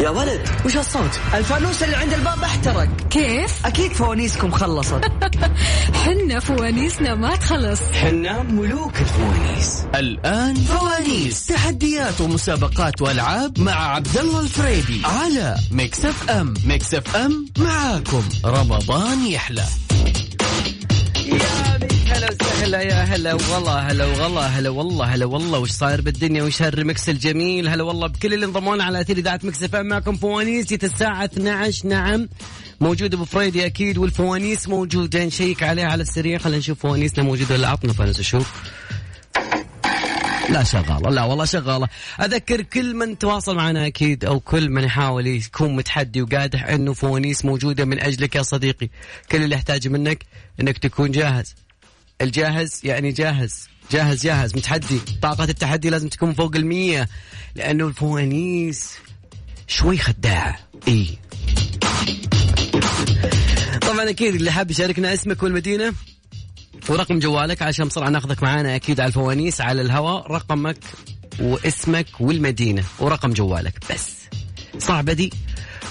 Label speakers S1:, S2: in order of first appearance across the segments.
S1: يا ولد وش هالصوت الفانوس اللي عند الباب احترق
S2: كيف؟
S1: اكيد فوانيسكم خلصت
S2: حنا فوانيسنا ما تخلص
S1: حنا ملوك الفوانيس
S3: الآن فوانيس تحديات ومسابقات وألعاب مع عبد الله الفريدي على ميكس اف ام ميكس اف ام معاكم رمضان يحلى
S4: يا ميت هلا وسهلا يا هلا والله هلا والله هلا والله هلا والله وش صاير بالدنيا وش هالريمكس الجميل هلا والله بكل اللي انضموا لنا على اثير اذاعه مكس اف ام معكم فوانيس الساعه 12 نعم موجود ابو فريدي اكيد والفوانيس موجوده نشيك عليها على السريع خلينا نشوف فوانيسنا موجوده ولا لا. عطنا فانوس نشوف لا شغالة لا والله شغالة أذكر كل من تواصل معنا أكيد أو كل من يحاول يكون متحدي وقادح أنه فوانيس موجودة من أجلك يا صديقي كل اللي يحتاج منك أنك تكون جاهز الجاهز يعني جاهز جاهز جاهز متحدي طاقة التحدي لازم تكون فوق المية لأنه الفوانيس شوي خداعة إي طبعا أكيد اللي حاب يشاركنا اسمك والمدينة ورقم جوالك عشان بسرعة ناخذك معانا أكيد على الفوانيس على الهواء رقمك واسمك والمدينة ورقم جوالك بس صعبة دي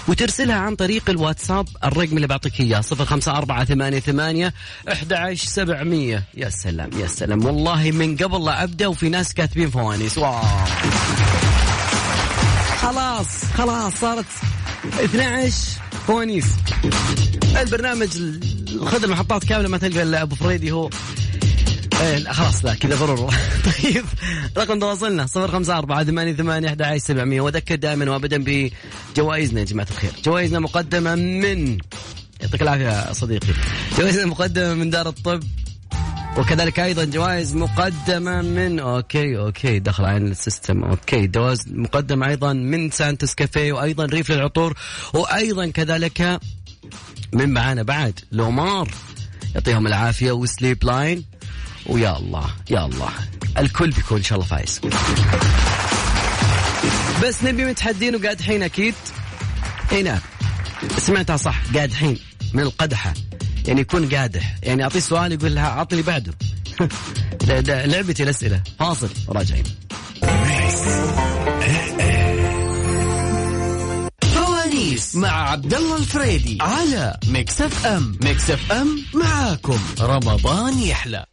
S4: وترسلها عن طريق الواتساب الرقم اللي بعطيك اياه 05488 11700 يا سلام يا سلام والله من قبل لا ابدا وفي ناس كاتبين فوانيس واو خلاص خلاص صارت 12 فوانيس البرنامج ال- خذ المحطات كامله ما تلقى الا ابو فريدي هو إيه لا خلاص لا كذا ضرورة طيب رقم تواصلنا 054 88 11700 واذكر دائما وابدا بجوائزنا يا جماعة الخير جوائزنا مقدمة من يعطيك العافية يا صديقي جوائزنا مقدمة من دار الطب وكذلك ايضا جوائز مقدمه من اوكي اوكي دخل عين السيستم اوكي جوائز مقدمه ايضا من سانتوس كافيه وايضا ريف للعطور وايضا كذلك من معانا بعد لومار يعطيهم العافيه وسليب لاين ويا الله يا الله الكل بيكون ان شاء الله فايز بس نبي متحدين وقادحين اكيد اي نعم سمعتها صح قادحين من القدحه يعني يكون قادح يعني اعطيه سؤال يقول لها اعطني بعده ده ده لعبتي الاسئله فاصل راجعين
S3: فوانيس مع عبد الله الفريدي على ميكس اف ام ميكس اف ام معاكم رمضان يحلى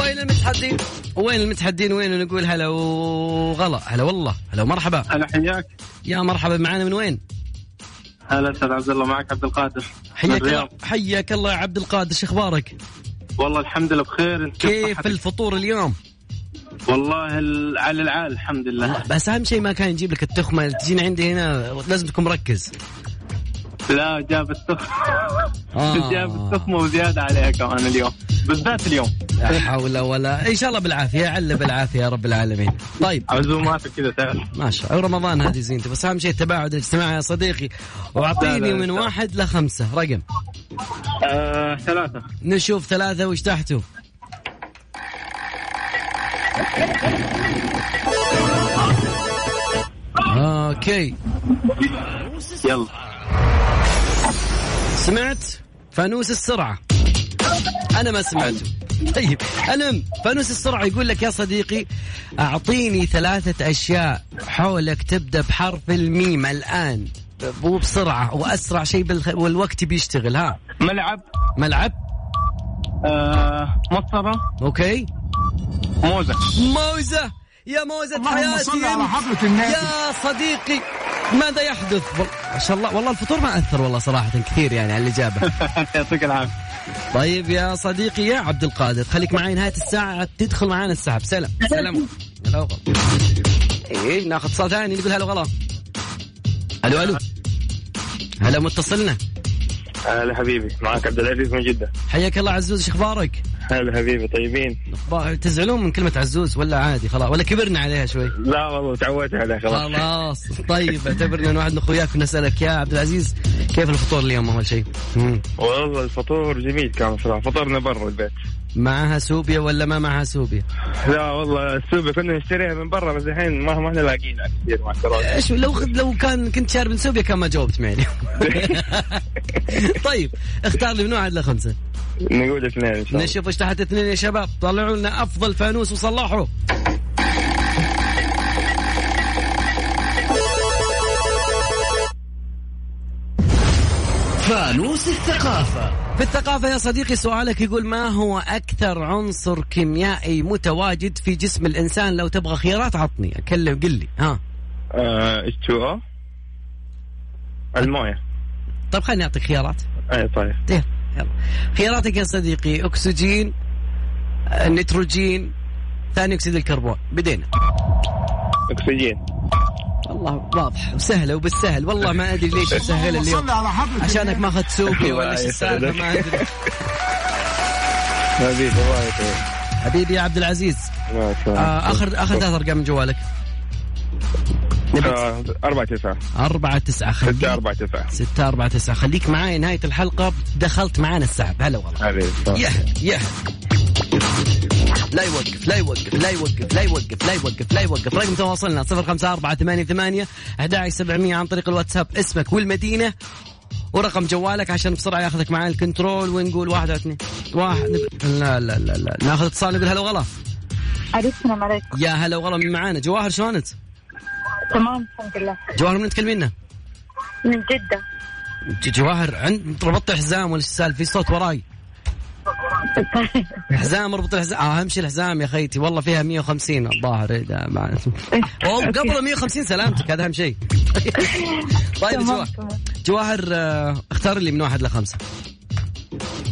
S4: وين المتحدين وين المتحدين وين نقول هلا وغلا هلا والله هلا ومرحبا
S5: هلا حياك
S4: يا مرحبا معانا من وين
S5: هلا استاذ عبد الله معك عبد القادر من
S4: حياك الله
S5: الرياض.
S4: حياك الله يا عبد القادر شو اخبارك
S5: والله الحمد لله بخير انت
S4: كيف
S5: صحتك؟
S4: الفطور اليوم
S5: والله ال- على العال الحمد لله
S4: بس اهم شيء ما كان يجيب لك التخمه اللي تجيني عندي هنا لازم تكون مركز
S5: لا جاب التخمه
S4: آه.
S5: جاب التخمه وزياده عليها كمان اليوم بالذات اليوم
S4: لا حول ولا ان شاء الله بالعافيه عله بالعافيه يا رب العالمين طيب
S5: عزوماتك كذا تعرف
S4: ما شاء الله رمضان هذه زينته بس اهم شيء التباعد الاجتماعي يا صديقي واعطيني
S5: لا،
S4: من
S5: لا.
S4: واحد لخمسه رقم
S5: آه، ثلاثه
S4: نشوف ثلاثه وش تحته اوكي
S5: يلا
S4: سمعت فانوس السرعة أنا ما سمعته طيب المهم فانوس السرعة يقول لك يا صديقي أعطيني ثلاثة أشياء حولك تبدأ بحرف الميم الآن مو بسرعة وأسرع شيء بالخ... والوقت بيشتغل ها
S5: ملعب
S4: ملعب
S5: آه، مسطره
S4: أوكي
S5: موزه
S4: موزة يا موزة حياتي يا صديقي ماذا يحدث وال- ما شاء الله والله الفطور ما أثر والله صراحة كثير يعني على الإجابة
S5: يعطيك العافيه
S4: طيب يا صديقي يا عبد القادر خليك معي نهايه الساعه تدخل معانا الساعه بسلام سلام هلا وغلا ايه ناخذ اتصال ثاني نقول هلا وغلا الو الو هلا متصلنا
S5: هلا حبيبي معك عبد العزيز من جده
S4: حياك الله عزوز شو اخبارك؟
S5: هلا حبيبي طيبين
S4: أخبار- تزعلون من كلمه عزوز ولا عادي خلاص ولا كبرنا عليها شوي
S5: لا والله تعودت عليه
S4: آه، خلاص طيب اعتبرنا ان واحد من اخوياك ونسالك يا عبد العزيز كيف الفطور اليوم اول شيء؟ مم.
S5: والله الفطور جميل كان صراحه فطرنا برا البيت
S4: معها سوبيا ولا ما معها سوبيا؟
S5: لا والله السوبر كنا نشتريها من برا بس الحين ما ما احنا لاقيينها كثير مع الدراسه
S4: ايش لو لو كان كنت شارب من سوبيا كان ما جاوبت معي طيب اختار لي من واحد لخمسه
S5: نقول اثنين ان
S6: طيب.
S5: شاء الله
S4: نشوف ايش تحت اثنين يا شباب طلعوا لنا افضل فانوس وصلحوا
S3: فانوس الثقافة
S4: في الثقافة يا صديقي سؤالك يقول ما هو أكثر عنصر كيميائي متواجد في جسم الإنسان لو تبغى خيارات عطني أكلم قل لي ها
S5: اتش آه، تو او المويه
S4: طب طيب، خليني أعطيك خيارات
S5: اي طيب
S4: يلا يلا. خياراتك يا صديقي أكسجين آه، نيتروجين ثاني أكسيد الكربون بدينا
S5: اكسجين
S4: والله واضح وسهلة وبالسهل والله ما أدري ليش مسهلة اليوم عشانك ما أخذت سوقي ولا إيش السالفة ما أدري
S5: حبيبي الله يسعدك
S4: حبيبي يا عبد العزيز
S5: ما شاء الله.
S4: آه، آخر آخر ثلاث أرقام من جوالك
S5: آه، أربعة تسعة
S4: أربعة تسعة خليك
S5: ستة أربعة تسعة
S4: ستة أربعة تسعة خليك معاي نهاية الحلقة دخلت معانا السحب هلا والله
S5: حبيبي
S4: يا يا لا يوقف لا يوقف لا يوقف لا يوقف لا يوقف لا يوقف رقم تواصلنا 05488 11700 عن طريق الواتساب اسمك والمدينة ورقم جوالك عشان بسرعة ياخذك معاه الكنترول ونقول واحد اثنين واحد لا لا لا لا ناخذ اتصال نقول هلا والله
S7: عليكم السلام عليكم
S4: يا هلا والله من معانا جواهر شلونك؟
S7: تمام الحمد لله
S4: جواهر من تكلمينا؟
S7: من جدة
S4: ج- جواهر عند ربطت حزام ولا إيش السالفة في صوت وراي حزام اربط الحزام آه امشي الحزام يا خيتي والله فيها 150 الظاهر إيه ده مع- أو قبل 150 سلامتك هذا اهم شيء طيب
S7: تمام،
S4: جواهر
S7: تمام.
S4: جواهر آه، اختار لي من واحد لخمسه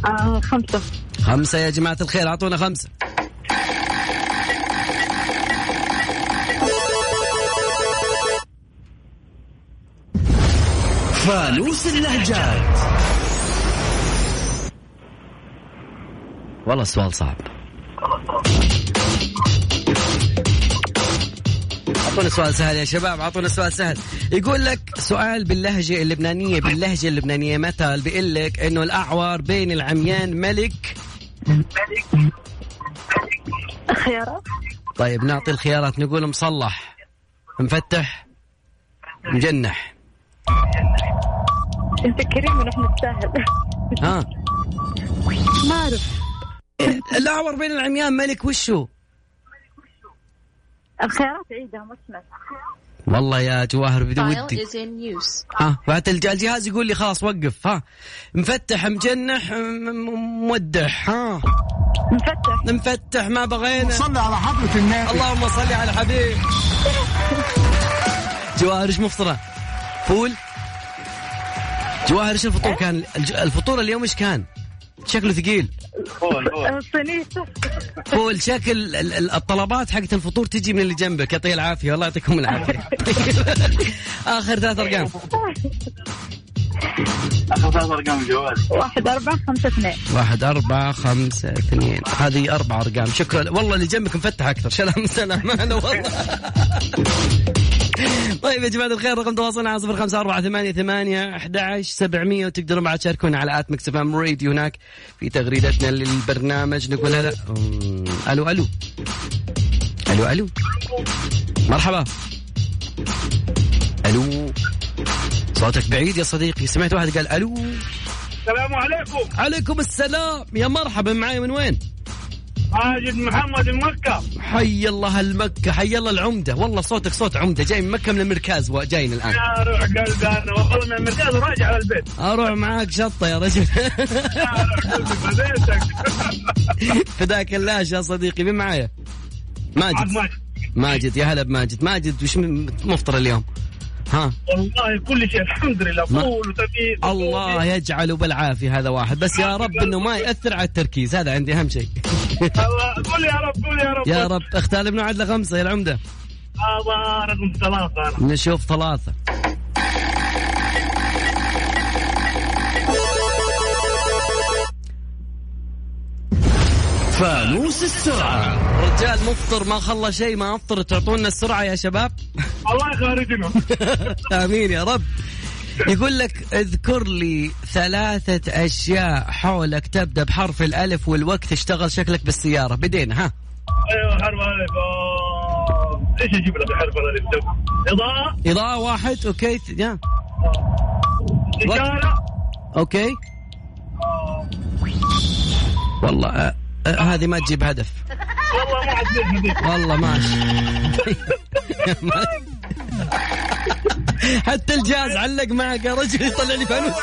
S7: آه خمسة
S4: خمسه يا جماعه الخير اعطونا خمسه
S3: فانوس اللهجات
S4: والله السؤال صعب اعطونا سؤال سهل يا شباب اعطونا سؤال سهل يقول لك سؤال باللهجه اللبنانيه باللهجه اللبنانيه مثل بيقول لك انه الاعور بين العميان ملك
S7: خيارات
S4: طيب نعطي الخيارات نقول مصلح مفتح مجنح
S7: انت كريم ونحن نستاهل
S4: ها
S7: ما اعرف
S4: الاعور بين العميان ملك وشو
S7: الخيارات عيدها ما سمعت
S4: والله يا جواهر بدي
S8: File
S4: ودي
S8: is in use.
S4: ها بعد الج- الجهاز يقول لي خلاص وقف ها مفتح مجنح م- م- مودح ها
S7: مفتح
S4: مفتح ما بغينا صلي على حضرة النبي اللهم صل على الحبيب جواهر ايش مفطره؟ فول جواهر ايش الفطور كان الج- الفطور اليوم ايش كان؟ شكله ثقيل
S7: آه، صينية
S4: فول شكل ال- ال- الطلبات حقت الفطور تجي من اللي جنبك يعطيه العافيه والله يعطيكم العافيه اخر ثلاث ارقام
S7: واحد أربعة خمسة اثنين
S4: واحد أربعة خمسة اثنين هذه أربع أرقام شكرا والله اللي جنبك مفتح أكثر سلام سلام هلا والله طيب يا جماعة الخير رقم تواصلنا على صفر خمسة أربعة ثمانية ثمانية أحد عشر سبعمية وتقدروا بعد تشاركونا على آت مكسف أم راديو هناك في تغريدتنا للبرنامج نقول هلا أم، ألو ألو ألو ألو مرحبا ألو صوتك بعيد يا صديقي سمعت واحد قال ألو
S5: السلام عليكم
S4: عليكم السلام يا مرحبا معاي من وين؟
S5: ماجد محمد من مكة
S4: حي الله المكة حي الله العمدة والله صوتك صوت عمدة جاي من مكة من المركز وجاينا الآن
S5: يا روح قلبي أنا والله من المركز وراجع على البيت
S4: أروح معاك شطة يا رجل
S5: يا روح قلبي فديتك
S4: فداك اللاش يا صديقي مين معايا؟
S5: عاد
S4: ماجد
S5: ماجد.
S4: ماجد يا هلا بماجد ماجد وش م- مفطر اليوم؟ ها
S5: والله كل شيء الحمد لله
S4: ما-
S5: فول وتمييز
S4: الله يجعله بالعافية هذا واحد بس يا رب انه ما يأثر على التركيز هذا عندي أهم شيء
S5: الله قول يا رب قول يا رب
S4: يا رب اختار لي من واحد لخمسة يا العمدة
S5: الله رقم ثلاثة أنا
S4: نشوف ثلاثة
S3: فانوس السرعة
S4: رجال مفطر ما خلى شيء ما افطر تعطونا السرعه يا شباب
S5: الله يخرجنا
S4: امين يا رب يقول لك اذكر لي ثلاثة أشياء حولك تبدأ بحرف الألف والوقت اشتغل شكلك بالسيارة بدينا ها
S5: ايوه حرف الالف آه، ايش اجيب لك حرف الالف ده؟ اضاءة
S4: إضاءة واحد أوكي يا.
S5: اشارة
S4: أوكي والله أه أه هذه ما تجيب هدف
S5: والله ما عاد
S4: والله
S5: ليش هذيك.
S4: ماشي حتى الجهاز علق معك يا رجل يطلع لي فانوس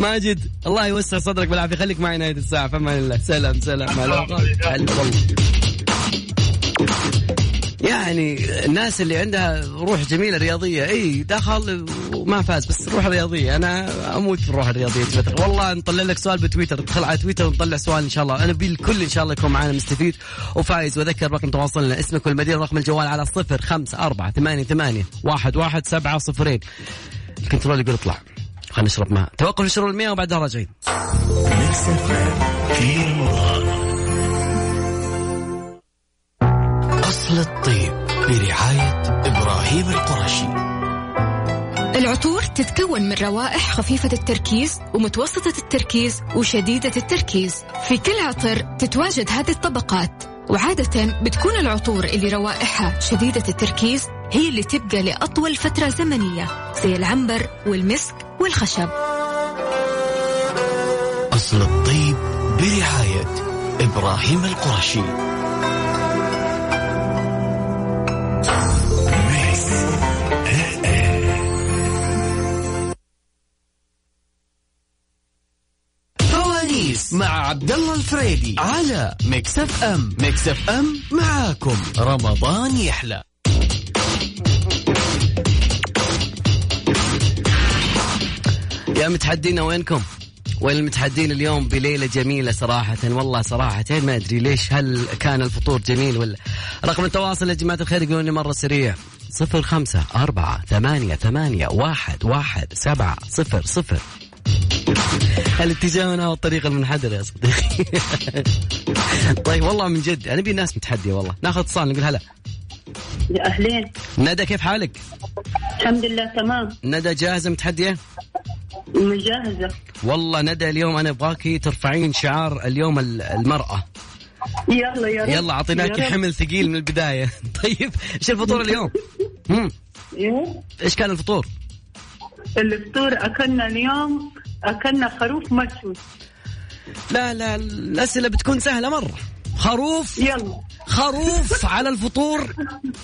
S4: ماجد الله يوسع صدرك بالعافيه خليك معي نهايه الساعه فما الله سلام سلام هلا والله. هلا والله يعني الناس اللي عندها روح جميله رياضيه اي دخل وما فاز بس روح رياضيه انا اموت في الروح الرياضيه تبتغ. والله نطلع لك سؤال بتويتر ادخل على تويتر ونطلع سؤال ان شاء الله انا ابي الكل ان شاء الله يكون معنا مستفيد وفايز واذكر رقم تواصلنا اسمك والمدينه رقم الجوال على 0 5 4 8 8 1 1 7 0 الكنترول يقول اطلع خلينا نشرب ماء توقف شرب المياه وبعدها راجعين
S3: أصل الطيب برعاية إبراهيم القرشي
S2: العطور تتكون من روائح خفيفة التركيز ومتوسطة التركيز وشديدة التركيز في كل عطر تتواجد هذه الطبقات وعادة بتكون العطور اللي روائحها شديدة التركيز هي اللي تبقى لأطول فترة زمنية زي العنبر والمسك والخشب
S3: أصل الطيب برعاية إبراهيم القرشي فوانيس مع عبد الله الفريدي على ميكس اف ام ميكس اف ام معاكم رمضان يحلى
S4: يا متحدين وينكم؟ وين المتحدين اليوم بليلة جميلة صراحة والله صراحة ما أدري ليش هل كان الفطور جميل ولا رقم التواصل يا جماعة الخير يقولون لي مرة سريع صفر خمسة أربعة ثمانية ثمانية واحد واحد سبعة صفر صفر الاتجاه هنا والطريق المنحدر يا صديقي طيب والله من جد أنا أبي ناس متحدية والله ناخذ اتصال نقول هلا
S8: يا أهلين
S4: ندى كيف حالك؟
S8: الحمد لله تمام
S4: ندى جاهزة متحدية؟
S8: مجهزة
S4: والله ندى اليوم أنا أبغاكي ترفعين شعار اليوم ال- المرأة
S8: يلا يا رب
S4: يلا اعطيناك
S8: يا رب.
S4: حمل ثقيل من البدايه طيب ايش الفطور اليوم مم.
S8: إيه.
S4: ايش كان الفطور
S8: الفطور أكلنا اليوم أكلنا خروف مشوي
S4: لا لا الاسئله بتكون سهله مره خروف
S8: يلا
S4: خروف على الفطور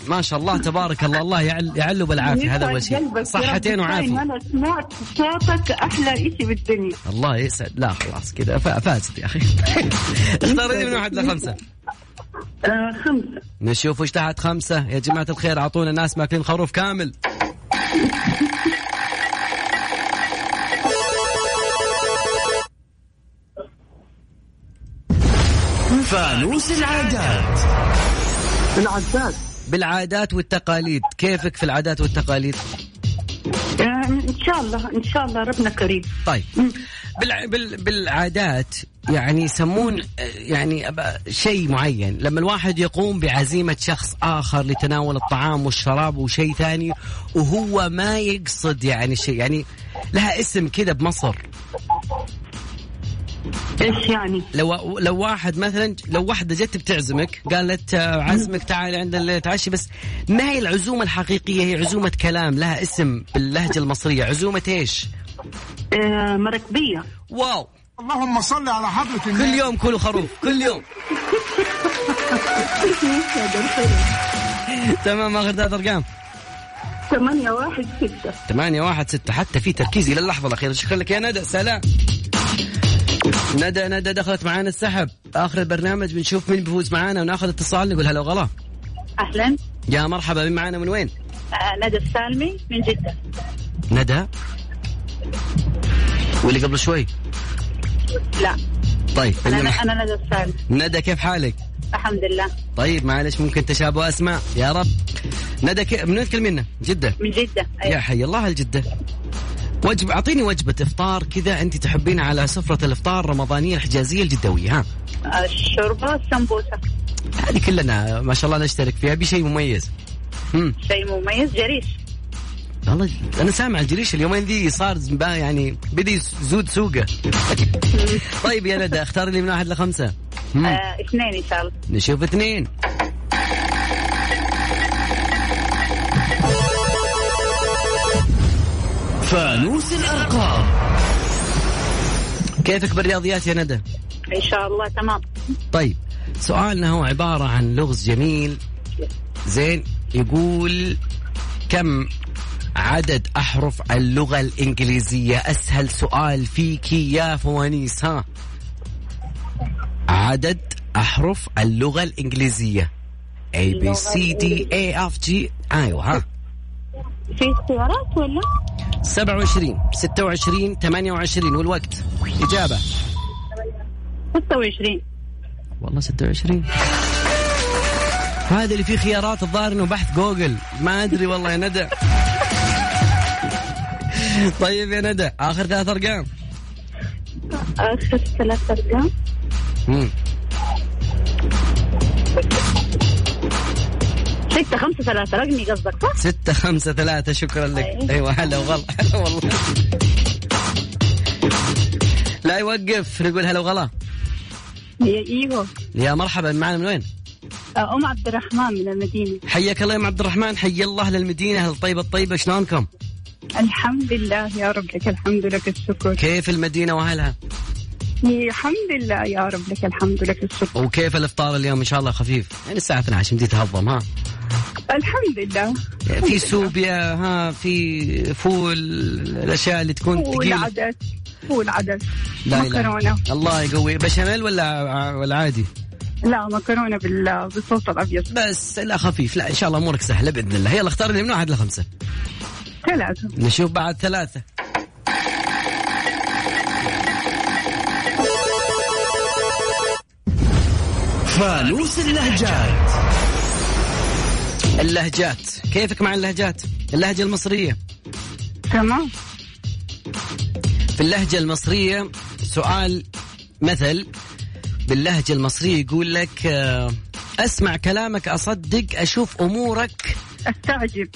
S4: ما شاء الله تبارك الله الله يعل يعلو بالعافيه هذا اول شيء صحتين وعافيه
S8: أنا سمعت صوتك أحلى إشي بالدنيا
S4: الله يسعد لا خلاص كذا فا- فازت يا اخي اختاري من واحد لخمسه
S8: آه خمسة
S4: نشوف وش تحت خمسة يا جماعة الخير أعطونا ناس ماكلين خروف كامل
S3: فانوس العادات
S8: العداد
S4: بالعادات والتقاليد كيفك في العادات والتقاليد
S8: آه إن شاء الله إن شاء الله ربنا كريم
S4: طيب بالع... بال... بالعادات يعني يسمون آه، يعني أب- شيء معين لما الواحد يقوم بعزيمة شخص آخر لتناول الطعام والشراب وشيء ثاني وهو ما يقصد يعني شيء يعني لها اسم كذا بمصر
S8: إيش يعني
S4: لو لو واحد مثلا لو واحدة جت بتعزمك قالت آه، عزمك تعال عندنا نتعشى بس ما هي العزومة الحقيقية هي عزومة كلام لها اسم باللهجة المصرية عزومة ايش؟
S8: آه مركبية
S4: واو
S9: اللهم صل على حضرة النبي
S4: كل يوم كلوا خروف كل يوم تمام اخر ثلاث ارقام
S8: ثمانية واحد ستة
S4: ثمانية واحد ستة حتى في تركيز الى اللحظة الاخيرة شكرا لك يا ندى سلام ندى ندى دخلت معانا السحب اخر البرنامج بنشوف مين بيفوز معانا وناخذ اتصال نقول هلا وغلا
S7: أهلا
S4: يا مرحبا مين معانا من وين؟
S7: آه، ندى السالمي من جدة
S4: ندى واللي قبل شوي
S7: لا
S4: طيب
S7: أنا
S4: إنما-
S7: أنا ندى السالمي
S4: ندى كيف حالك؟
S7: الحمد لله
S4: طيب معلش ممكن تشابه اسماء يا رب ندى ك... من وين تكلمينا؟ جدة
S7: من جدة
S4: يا حي الله الجدة وجب اعطيني وجبة افطار كذا انت تحبين على سفرة الافطار الرمضانية الحجازية الجدوية ها
S7: آه، الشوربة السمبوسة
S4: هذه كلنا ما شاء الله نشترك فيها بشيء مميز امم
S7: شيء مميز جريش
S4: والله انا سامع الجريش اليومين ذي صار بقى يعني بدا يزود سوقه طيب يا ندى اختار لي من واحد لخمسة مم.
S7: آه، اثنين إن شاء الله
S4: نشوف اثنين
S3: فانوس الأرقام
S4: كيفك بالرياضيات يا ندى
S7: إن شاء الله تمام
S4: طيب سؤالنا هو عبارة عن لغز جميل زين يقول كم عدد أحرف اللغة الإنجليزية أسهل سؤال فيك يا فوانيس ها عدد أحرف اللغة الإنجليزية A B C D A F G أيوه ها
S8: في اختيارات ولا؟
S4: 27 26 28 والوقت إجابة
S8: 26
S4: والله 26 هذا اللي فيه خيارات الظاهر انه بحث جوجل ما ادري والله يا ندى طيب يا ندى اخر ثلاث ارقام
S8: آخر ثلاث أرقام
S4: مم.
S7: 6 5 3 رقمي قصدك صح؟
S4: ستة خمسة ثلاثة شكرا لك ايوه هلا وغلا هلا والله لا يوقف نقول هلا وغلا
S8: يا إيوه
S4: يا مرحبا معنا من وين؟
S8: آه، أم عبد الرحمن من المدينة
S4: حياك الله يا ام عبد الرحمن حيا الله اهل المدينه اهل الطيبه الطيبه شلونكم؟
S8: الحمد لله يا رب لك الحمد لك الشكر
S4: كيف المدينه واهلها؟
S8: الحمد لله يا رب لك الحمد لك الشكر
S4: وكيف الافطار اليوم ان شاء الله خفيف؟ يعني الساعه 12 يمدي تهضم ها؟ يعني
S8: الحمد لله
S4: في سوبيا ها في فول الاشياء اللي تكون ثقيله
S8: والعدس والعدس
S4: لا إله.
S8: مكرونة
S4: الله يقوي بشاميل ولا ولا عادي
S8: لا مكرونة بال- بالصوص الأبيض
S4: بس لا خفيف لا ان شاء الله امورك سهله باذن الله يلا اختار لي من واحد لخمسه
S8: ثلاثة
S4: نشوف بعد ثلاثه
S3: فانوس اللهجات
S4: اللهجات كيفك مع اللهجات اللهجه المصريه
S8: تمام
S4: في اللهجه المصريه سؤال مثل باللهجه المصريه يقول لك آه، اسمع كلامك اصدق اشوف امورك
S8: أستعجب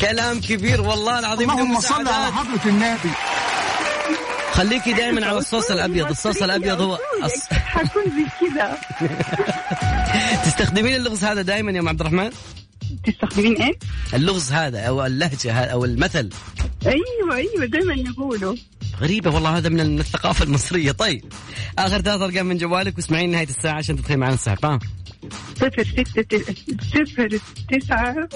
S4: كلام كبير والله العظيم بدون
S9: اللهم صل
S4: مساعدات.
S9: على حضرة النبي
S4: خليكي دائما على الصوص الابيض الصوص الابيض هو أص...
S8: حكون زي كذا
S4: تستخدمين اللغز هذا دائما يا ام عبد الرحمن
S8: تستخدمين إيه؟
S4: اللغز هذا او اللهجه ه- او المثل
S8: أيوه أيوه دائما نقوله
S4: غريبه والله هذا من من الثقافه المصريه طيب اخر ثلاث ارقام من جوالك واسمعين نهايه الساعه عشان تدخلين معنا الساعه تمام
S8: صفر ستة تل- صفر تسعة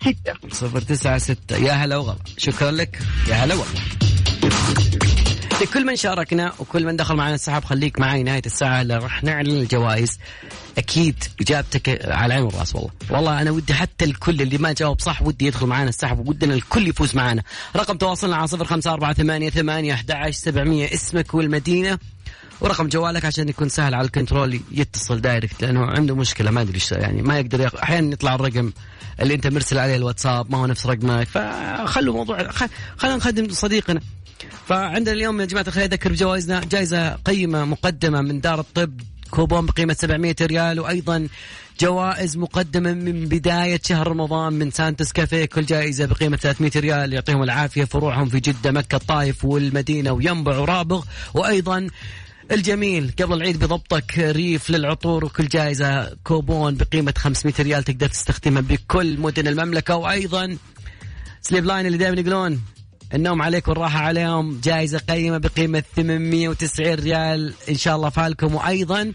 S8: ستة
S4: صفر تسعة ستة يا هلا وغلا شكرا لك يا هلا والله لكل من شاركنا وكل من دخل معنا السحب خليك معي نهاية الساعة اللي راح نعلن الجوائز أكيد إجابتك على العين والرأس والله والله أنا ودي حتى الكل اللي ما جاوب صح ودي يدخل معنا السحب ودنا الكل يفوز معنا رقم تواصلنا على صفر خمسة أربعة ثمانية ثمانية أحد عشر سبعمية اسمك والمدينة ورقم جوالك عشان يكون سهل على الكنترول يتصل دايركت لانه عنده مشكله ما ادري ايش يعني ما يقدر ياخذ احيانا يطلع الرقم اللي انت مرسل عليه الواتساب ما هو نفس رقمك فخلوا موضوع خ- خلينا نخدم صديقنا فعندنا اليوم يا جماعه الخير اذكر بجوائزنا جائزه قيمه مقدمه من دار الطب كوبون بقيمة 700 ريال وأيضا جوائز مقدمة من بداية شهر رمضان من سانتس كافيه كل جائزة بقيمة 300 ريال يعطيهم العافية فروعهم في جدة مكة الطائف والمدينة وينبع ورابغ وأيضا الجميل قبل العيد بضبطك ريف للعطور وكل جائزة كوبون بقيمة 500 ريال تقدر تستخدمها بكل مدن المملكة وأيضا سليب لاين اللي دائما يقولون النوم عليك والراحة عليهم جائزة قيمة بقيمة 890 ريال إن شاء الله فالكم وأيضا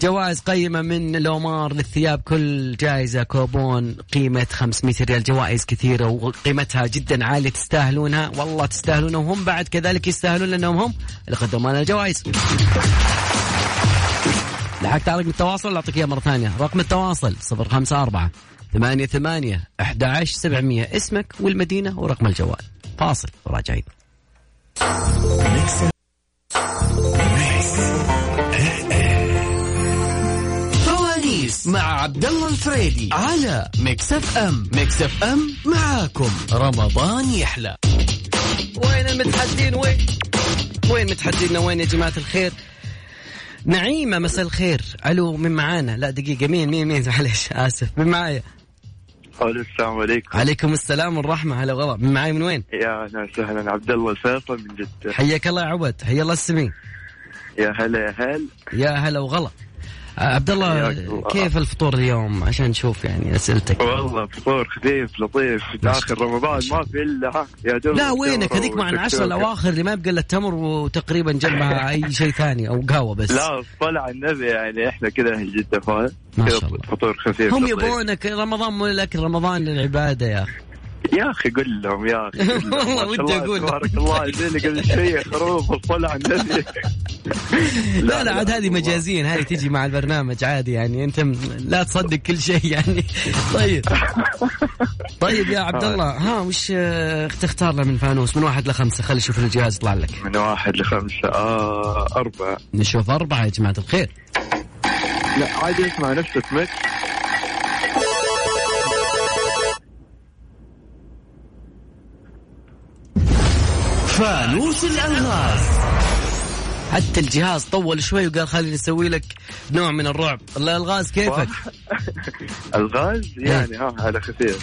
S4: جوائز قيمة من لومار للثياب كل جائزة كوبون قيمة 500 ريال جوائز كثيرة وقيمتها جدا عالية تستاهلونها والله تستاهلونها وهم بعد كذلك يستاهلون لأنهم هم اللي قدموا لنا الجوائز لحقت على رقم التواصل ولا اعطيك اياه مره ثانيه رقم التواصل 054 ثمانية ثمانية أحد عشر سبعمية اسمك والمدينة ورقم الجوال فاصل وراجعين
S3: فوانيس مع عبد الله الفريدي على ميكس اف ام ميكس اف ام معاكم رمضان يحلى
S4: وين المتحدين وين وين متحدينا وين يا جماعة الخير نعيمة مساء الخير ألو من معانا لا دقيقة مين مين مين معلش آسف من معايا
S6: الو السلام عليكم
S4: عليكم السلام والرحمة هلا وغلا من معاي من وين
S6: يا اهلا وسهلا عبد الله الفيصل من جدة
S4: حياك الله يا عبد حيا الله السمين
S6: يا هلا يا هل
S4: يا هلا وغلا آه، عبد الله
S6: حياك الله.
S4: كيف الفطور اليوم عشان نشوف يعني اسئلتك
S6: والله فطور خفيف لطيف داخل رمضان ما في الا ها، يا دوب
S4: لا وينك هذيك مع العشرة
S6: والتكتوكة.
S4: الاواخر اللي ما يبقى الا التمر وتقريبا جنبها اي شيء ثاني او قهوه بس
S6: لا طلع النبي يعني احنا كذا اهل جده فاهم
S4: ما
S6: كذا
S4: شاء الله.
S6: فطور خفيف
S4: هم
S6: لطيف.
S4: يبونك رمضان مو لك رمضان للعباده يا اخي
S6: يا اخي قل لهم يا اخي قل لهم.
S4: والله
S6: ما
S4: ودي
S6: شاء الله
S4: أقول لهم.
S6: تبارك الله يديني قبل شويه خروف وطلع النبي
S4: لا لا عاد هذه
S6: والله.
S4: مجازيا هذه تجي مع البرنامج عادي يعني انت م- لا تصدق كل شيء يعني طيب طيب يا عبد الله ها وش آه، تختار لنا من فانوس من واحد لخمسه خلي نشوف الجهاز يطلع لك
S6: من واحد لخمسه آه أربعة
S4: نشوف اربعه يا جماعه الخير
S6: لا عادي اسمع نفسك مت
S3: فانوس الالغاز
S4: حتى الجهاز طول شوي وقال خليني اسوي لك نوع من الرعب الله الغاز كيفك
S6: الغاز يعني ها على خفيف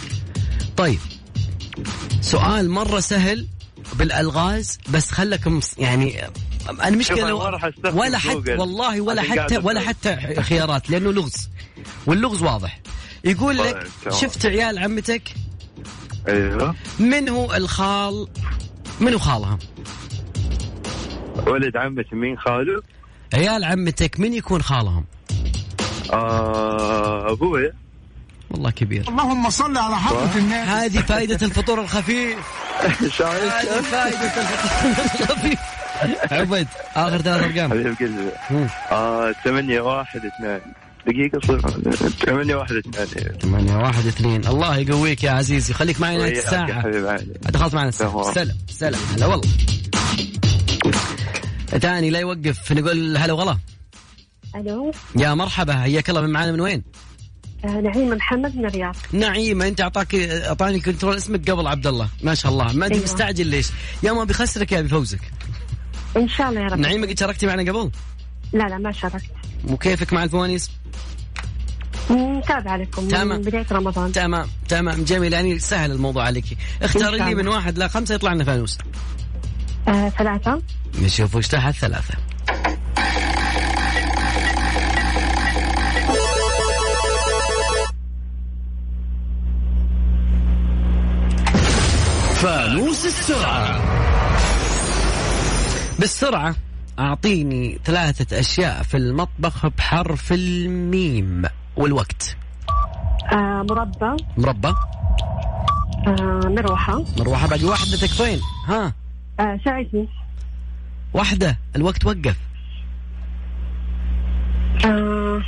S4: طيب سؤال مره سهل بالالغاز بس خلك مص... يعني
S6: شوف
S4: المشكله
S6: أنا
S4: لو...
S6: ما راح أستخدم
S4: ولا حتى
S6: جوجل.
S4: والله ولا
S6: عشان قاعد
S4: حتى ولا
S6: أدور.
S4: حتى خيارات لانه لغز واللغز واضح يقول
S6: طيب،
S4: لك
S6: تمام.
S4: شفت عيال عمتك
S6: ايوه
S4: من هو الخال من هو خالها
S6: ولد عمتي مين خاله؟
S4: عيال عمتك من يكون خالهم
S6: آه ابوي
S4: والله كبير
S9: اللهم صل على حضرة النبي
S4: هذه فائدة الفطور الخفيف
S6: شايف
S4: هذه فائدة الفطور الخفيف عبد آخر ثلاث أرقام
S6: حبيب قلبي
S4: مم.
S6: آه 8 1 2 دقيقة صفر 8 1 2
S4: ثمانية واحد اثنين الله يقويك يا عزيزي خليك معي نهاية الساعة
S6: حبيب عالي
S4: دخلت معنا
S6: تمام.
S4: سلام سلام هلا والله تاني لا يوقف نقول هلا وغلا
S8: الو
S4: يا مرحبا حياك الله من معانا من وين؟
S8: آه، نعيمه محمد من الرياض
S4: نعيمة انت اعطاك اعطاني كنترول اسمك قبل عبد الله ما شاء الله ما انت
S8: أيوة.
S4: مستعجل ليش؟ يا ما بيخسرك يا بيفوزك
S8: ان شاء الله يا رب
S4: نعيمة قد شاركتي معنا قبل
S8: لا لا ما شاركت
S4: وكيفك مع الفوانيس؟
S8: متابعه لكم
S4: تمام.
S8: من بدايه رمضان
S4: تمام تمام جميل يعني سهل الموضوع عليك اختاري
S8: إن شاء
S4: لي من
S8: الله.
S4: واحد لخمسة يطلع لنا فانوس
S8: آه، ثلاثه
S4: نشوف وش تحت ثلاثة
S3: فانوس السرعة
S4: بالسرعة أعطيني ثلاثة أشياء في المطبخ بحرف الميم والوقت
S8: آه، مربى
S4: مربى
S8: آه، مروحه
S4: مروحة باقي واحدة تكفين ها
S8: آه، ساعدني
S4: واحدة الوقت وقف
S8: آه،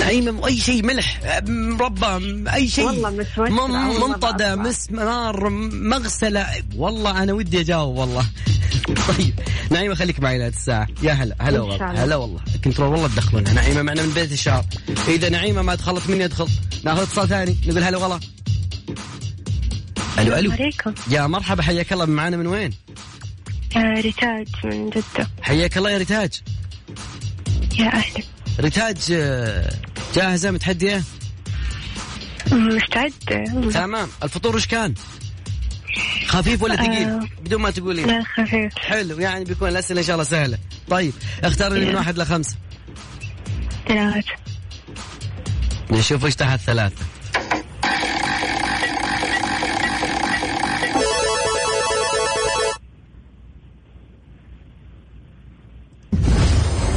S4: نعيمة أي شيء ملح مربى أي شيء
S8: والله متوترة، والله
S4: مم- منطدة
S8: بعرف.
S4: مسمار مغسلة والله أنا ودي أجاوب والله طيب نعيمة خليك معي لهذه الساعة يا هلا هلا
S8: إن شاء
S4: والله
S8: الله.
S4: هلا والله كنترول والله تدخلونها نعيمة معنا من بيت الشعر إذا نعيمة ما دخلت مني أدخل ناخذ اتصال ثاني نقول هلا والله ألو ألو
S8: عليكم
S4: يا مرحبا حياك الله معنا من وين؟
S8: آه، ريتاج من جده
S4: حياك الله يا ريتاج
S8: يا اهلا
S4: ريتاج آه، جاهزة متحدية؟
S8: مستعده
S4: تمام الفطور وش كان؟ خفيف ولا
S8: آه.
S4: ثقيل؟ بدون ما تقولي
S8: لا خفيف
S4: حلو يعني بيكون الأسئلة إن شاء الله سهلة طيب اختار
S8: إيه.
S4: لي من واحد لخمسة
S8: ثلاثه
S4: نشوف وش تحت ثلاثة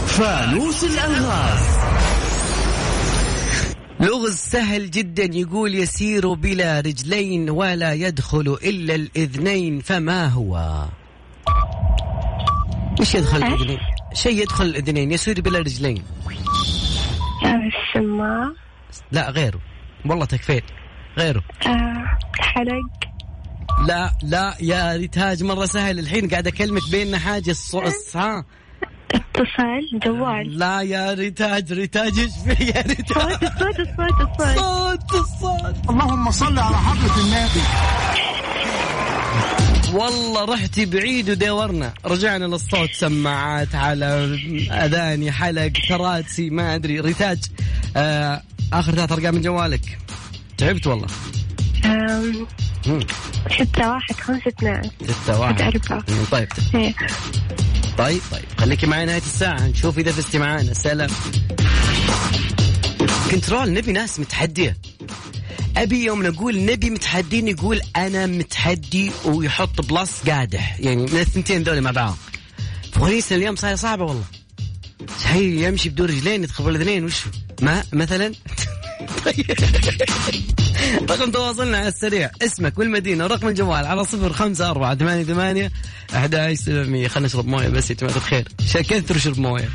S3: فانوس الالغاز
S4: لغز سهل جدا يقول يسير بلا رجلين ولا يدخل إلا الإذنين فما هو؟ ايش يدخل الإذنين؟ شيء يدخل الإذنين يسير بلا رجلين
S8: آه، السماعه
S4: لا غيره والله تكفيت غيره
S8: آه، حلق
S4: لا لا يا ريتاج مرة سهل الحين قاعد أكلمك بيننا حاجة الص- الص- ها
S8: اتصال جوال
S4: لا يا ريتاج ريتاج ايش في يا ريتاج
S8: صوت الصوت الصوت الصوت
S4: صوت الصوت
S9: اللهم صل على حضرة النبي
S4: والله رحتي بعيد ودورنا رجعنا للصوت سماعات على اذاني حلق كراسي ما ادري ريتاج آه اخر ثلاث ارقام من جوالك تعبت والله
S8: آم،
S4: مم.
S8: ستة واحد خمسة اثنان
S4: ستة واحد
S8: أربعة.
S4: طيب
S8: إيه.
S4: طيب طيب خليكي معي نهاية الساعة نشوف إذا فزتي معانا سلام كنترول نبي ناس متحدية أبي يوم نقول نبي متحدين يقول أنا متحدي ويحط بلس قادح يعني من الثنتين ذولي مع بعض فوانيس اليوم صاير صعبة والله شيء يمشي بدون رجلين يدخل بالاثنين وشو ما مثلا طيب. رقم تواصلنا على السريع اسمك والمدينة ورقم الجوال على صفر خمسة أربعة ثمانية ثمانية أحد عشر سبعمية خلنا نشرب موية بس يا جماعة الخير شا- كثروا شرب موية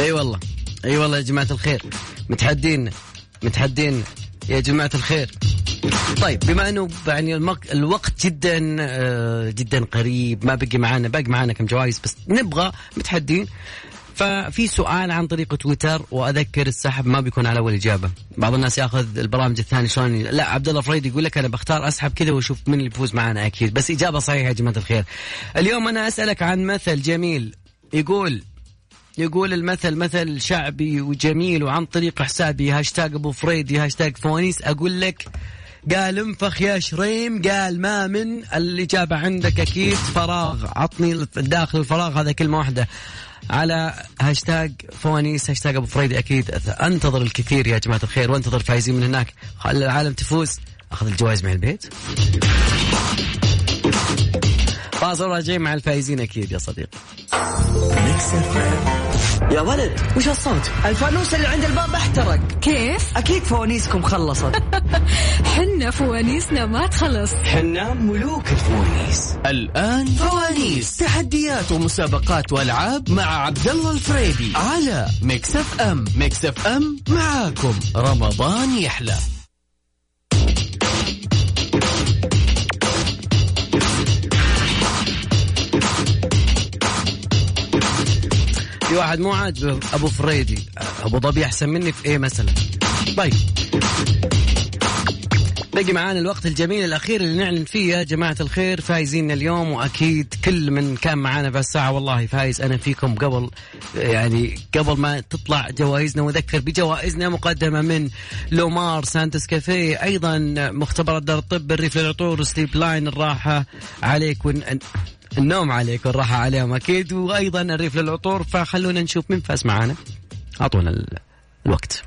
S4: اي والله اي والله يا جماعة الخير متحدين متحدين يا جماعة الخير طيب بما انه يعني المق... الوقت جدا آه، جدا قريب ما بقي معانا باقي معانا كم جوائز بس نبغى متحدين ففي سؤال عن طريق تويتر واذكر السحب ما بيكون على اول اجابه بعض الناس ياخذ البرامج الثانيه شلون لا عبد الله فريد يقول لك انا بختار اسحب كذا واشوف مين اللي بيفوز معانا اكيد بس اجابه صحيحه يا جماعه الخير اليوم انا اسالك عن مثل جميل يقول يقول المثل مثل شعبي وجميل وعن طريق حسابي هاشتاج ابو فريدي هاشتاج فوانيس اقول لك قال انفخ يا شريم قال ما من الاجابه عندك اكيد فراغ عطني داخل الفراغ هذا كلمه واحده على هاشتاج فوانيس هاشتاج ابو فريدي اكيد انتظر الكثير يا جماعه الخير وانتظر فايزين من هناك خل العالم تفوز اخذ الجوائز مع البيت فاصل راجعين مع الفايزين اكيد يا صديقي
S1: يا ولد وش هالصوت الفانوس اللي عند الباب احترق
S2: كيف؟
S1: اكيد فوانيسكم خلصت
S2: حنا فوانيسنا ما تخلص
S1: حنا ملوك الفوانيس
S3: الآن فوانيس تحديات ومسابقات وألعاب مع عبد الله الفريدي على ميكس اف ام ميكس اف ام معاكم رمضان يحلى
S4: في واحد مو عاجبه ابو فريدي ابو ظبي احسن مني في ايه مثلا طيب بقي معانا الوقت الجميل الاخير اللي نعلن فيه يا جماعه الخير فايزين اليوم واكيد كل من كان معانا في الساعه والله فايز انا فيكم قبل يعني قبل ما تطلع جوائزنا واذكر بجوائزنا مقدمه من لومار سانتس كافيه ايضا مختبرات دار الطب الريف للعطور سليب لاين الراحه عليك ون... النوم عليك والراحه عليهم اكيد وايضا الريف للعطور فخلونا نشوف مين فاز معانا اعطونا ال- الوقت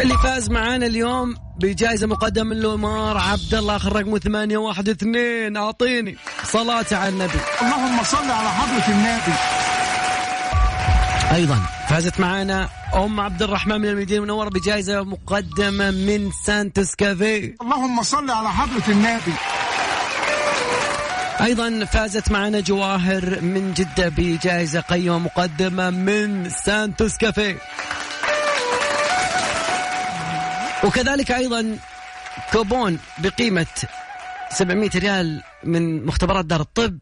S4: اللي فاز معانا اليوم بجائزة مقدمة من لومار عبد الله آخر رقمه ثمانية واحد اثنين أعطيني صلاة على النبي
S9: اللهم صل على حضرة النبي
S4: أيضا فازت معانا أم عبد الرحمن من المدينة المنورة بجائزة مقدمة من سانتس كافيه
S9: اللهم صل على حضرة النبي
S4: أيضا فازت معنا جواهر من جدة بجائزة قيمة مقدمة من سانتوس كافيه وكذلك أيضا كوبون بقيمة 700 ريال من مختبرات دار الطب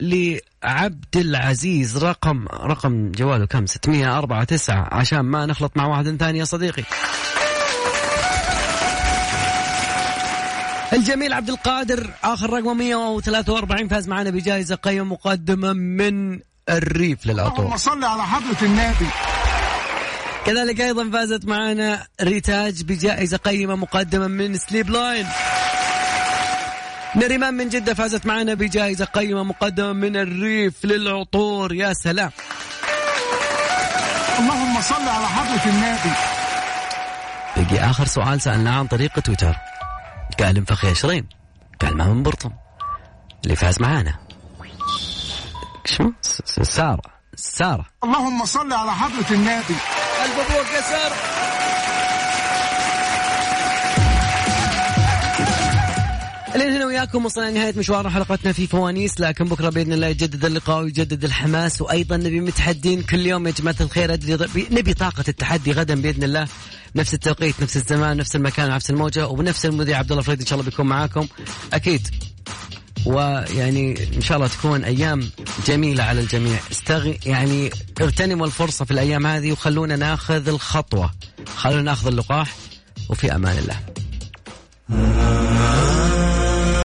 S4: لعبد العزيز رقم رقم جواله كم 604 9 عشان ما نخلط مع واحد ثاني يا صديقي الجميل عبد القادر اخر رقمه 143 فاز معنا بجائزه قيم مقدمه من الريف للعطور
S9: اللهم صل على حضرة النبي
S4: كذلك ايضا فازت معنا ريتاج بجائزه قيمه مقدمه من سليب لاين نريمان من جده فازت معنا بجائزه قيمه مقدمه من الريف للعطور يا سلام
S9: اللهم صل على حضرة النبي
S4: بقي اخر سؤال سالناه عن طريق تويتر قال انفخ يا شريم قال ما من برطم اللي فاز معانا شو س- س- ساره ساره
S9: اللهم صل على حضرة النبي
S4: الف مبروك يا ساره الين هنا وياكم وصلنا لنهايه مشوار حلقتنا في فوانيس لكن بكره باذن الله يجدد اللقاء ويجدد الحماس وايضا نبي متحدين كل يوم يا جماعه الخير ادري ض- نبي طاقه التحدي غدا باذن الله نفس التوقيت نفس الزمان نفس المكان نفس الموجه وبنفس المذيع عبد الله فريد ان شاء الله بيكون معاكم اكيد ويعني ان شاء الله تكون ايام جميله على الجميع استغ يعني اغتنموا الفرصه في الايام هذه وخلونا ناخذ الخطوه خلونا ناخذ اللقاح وفي امان الله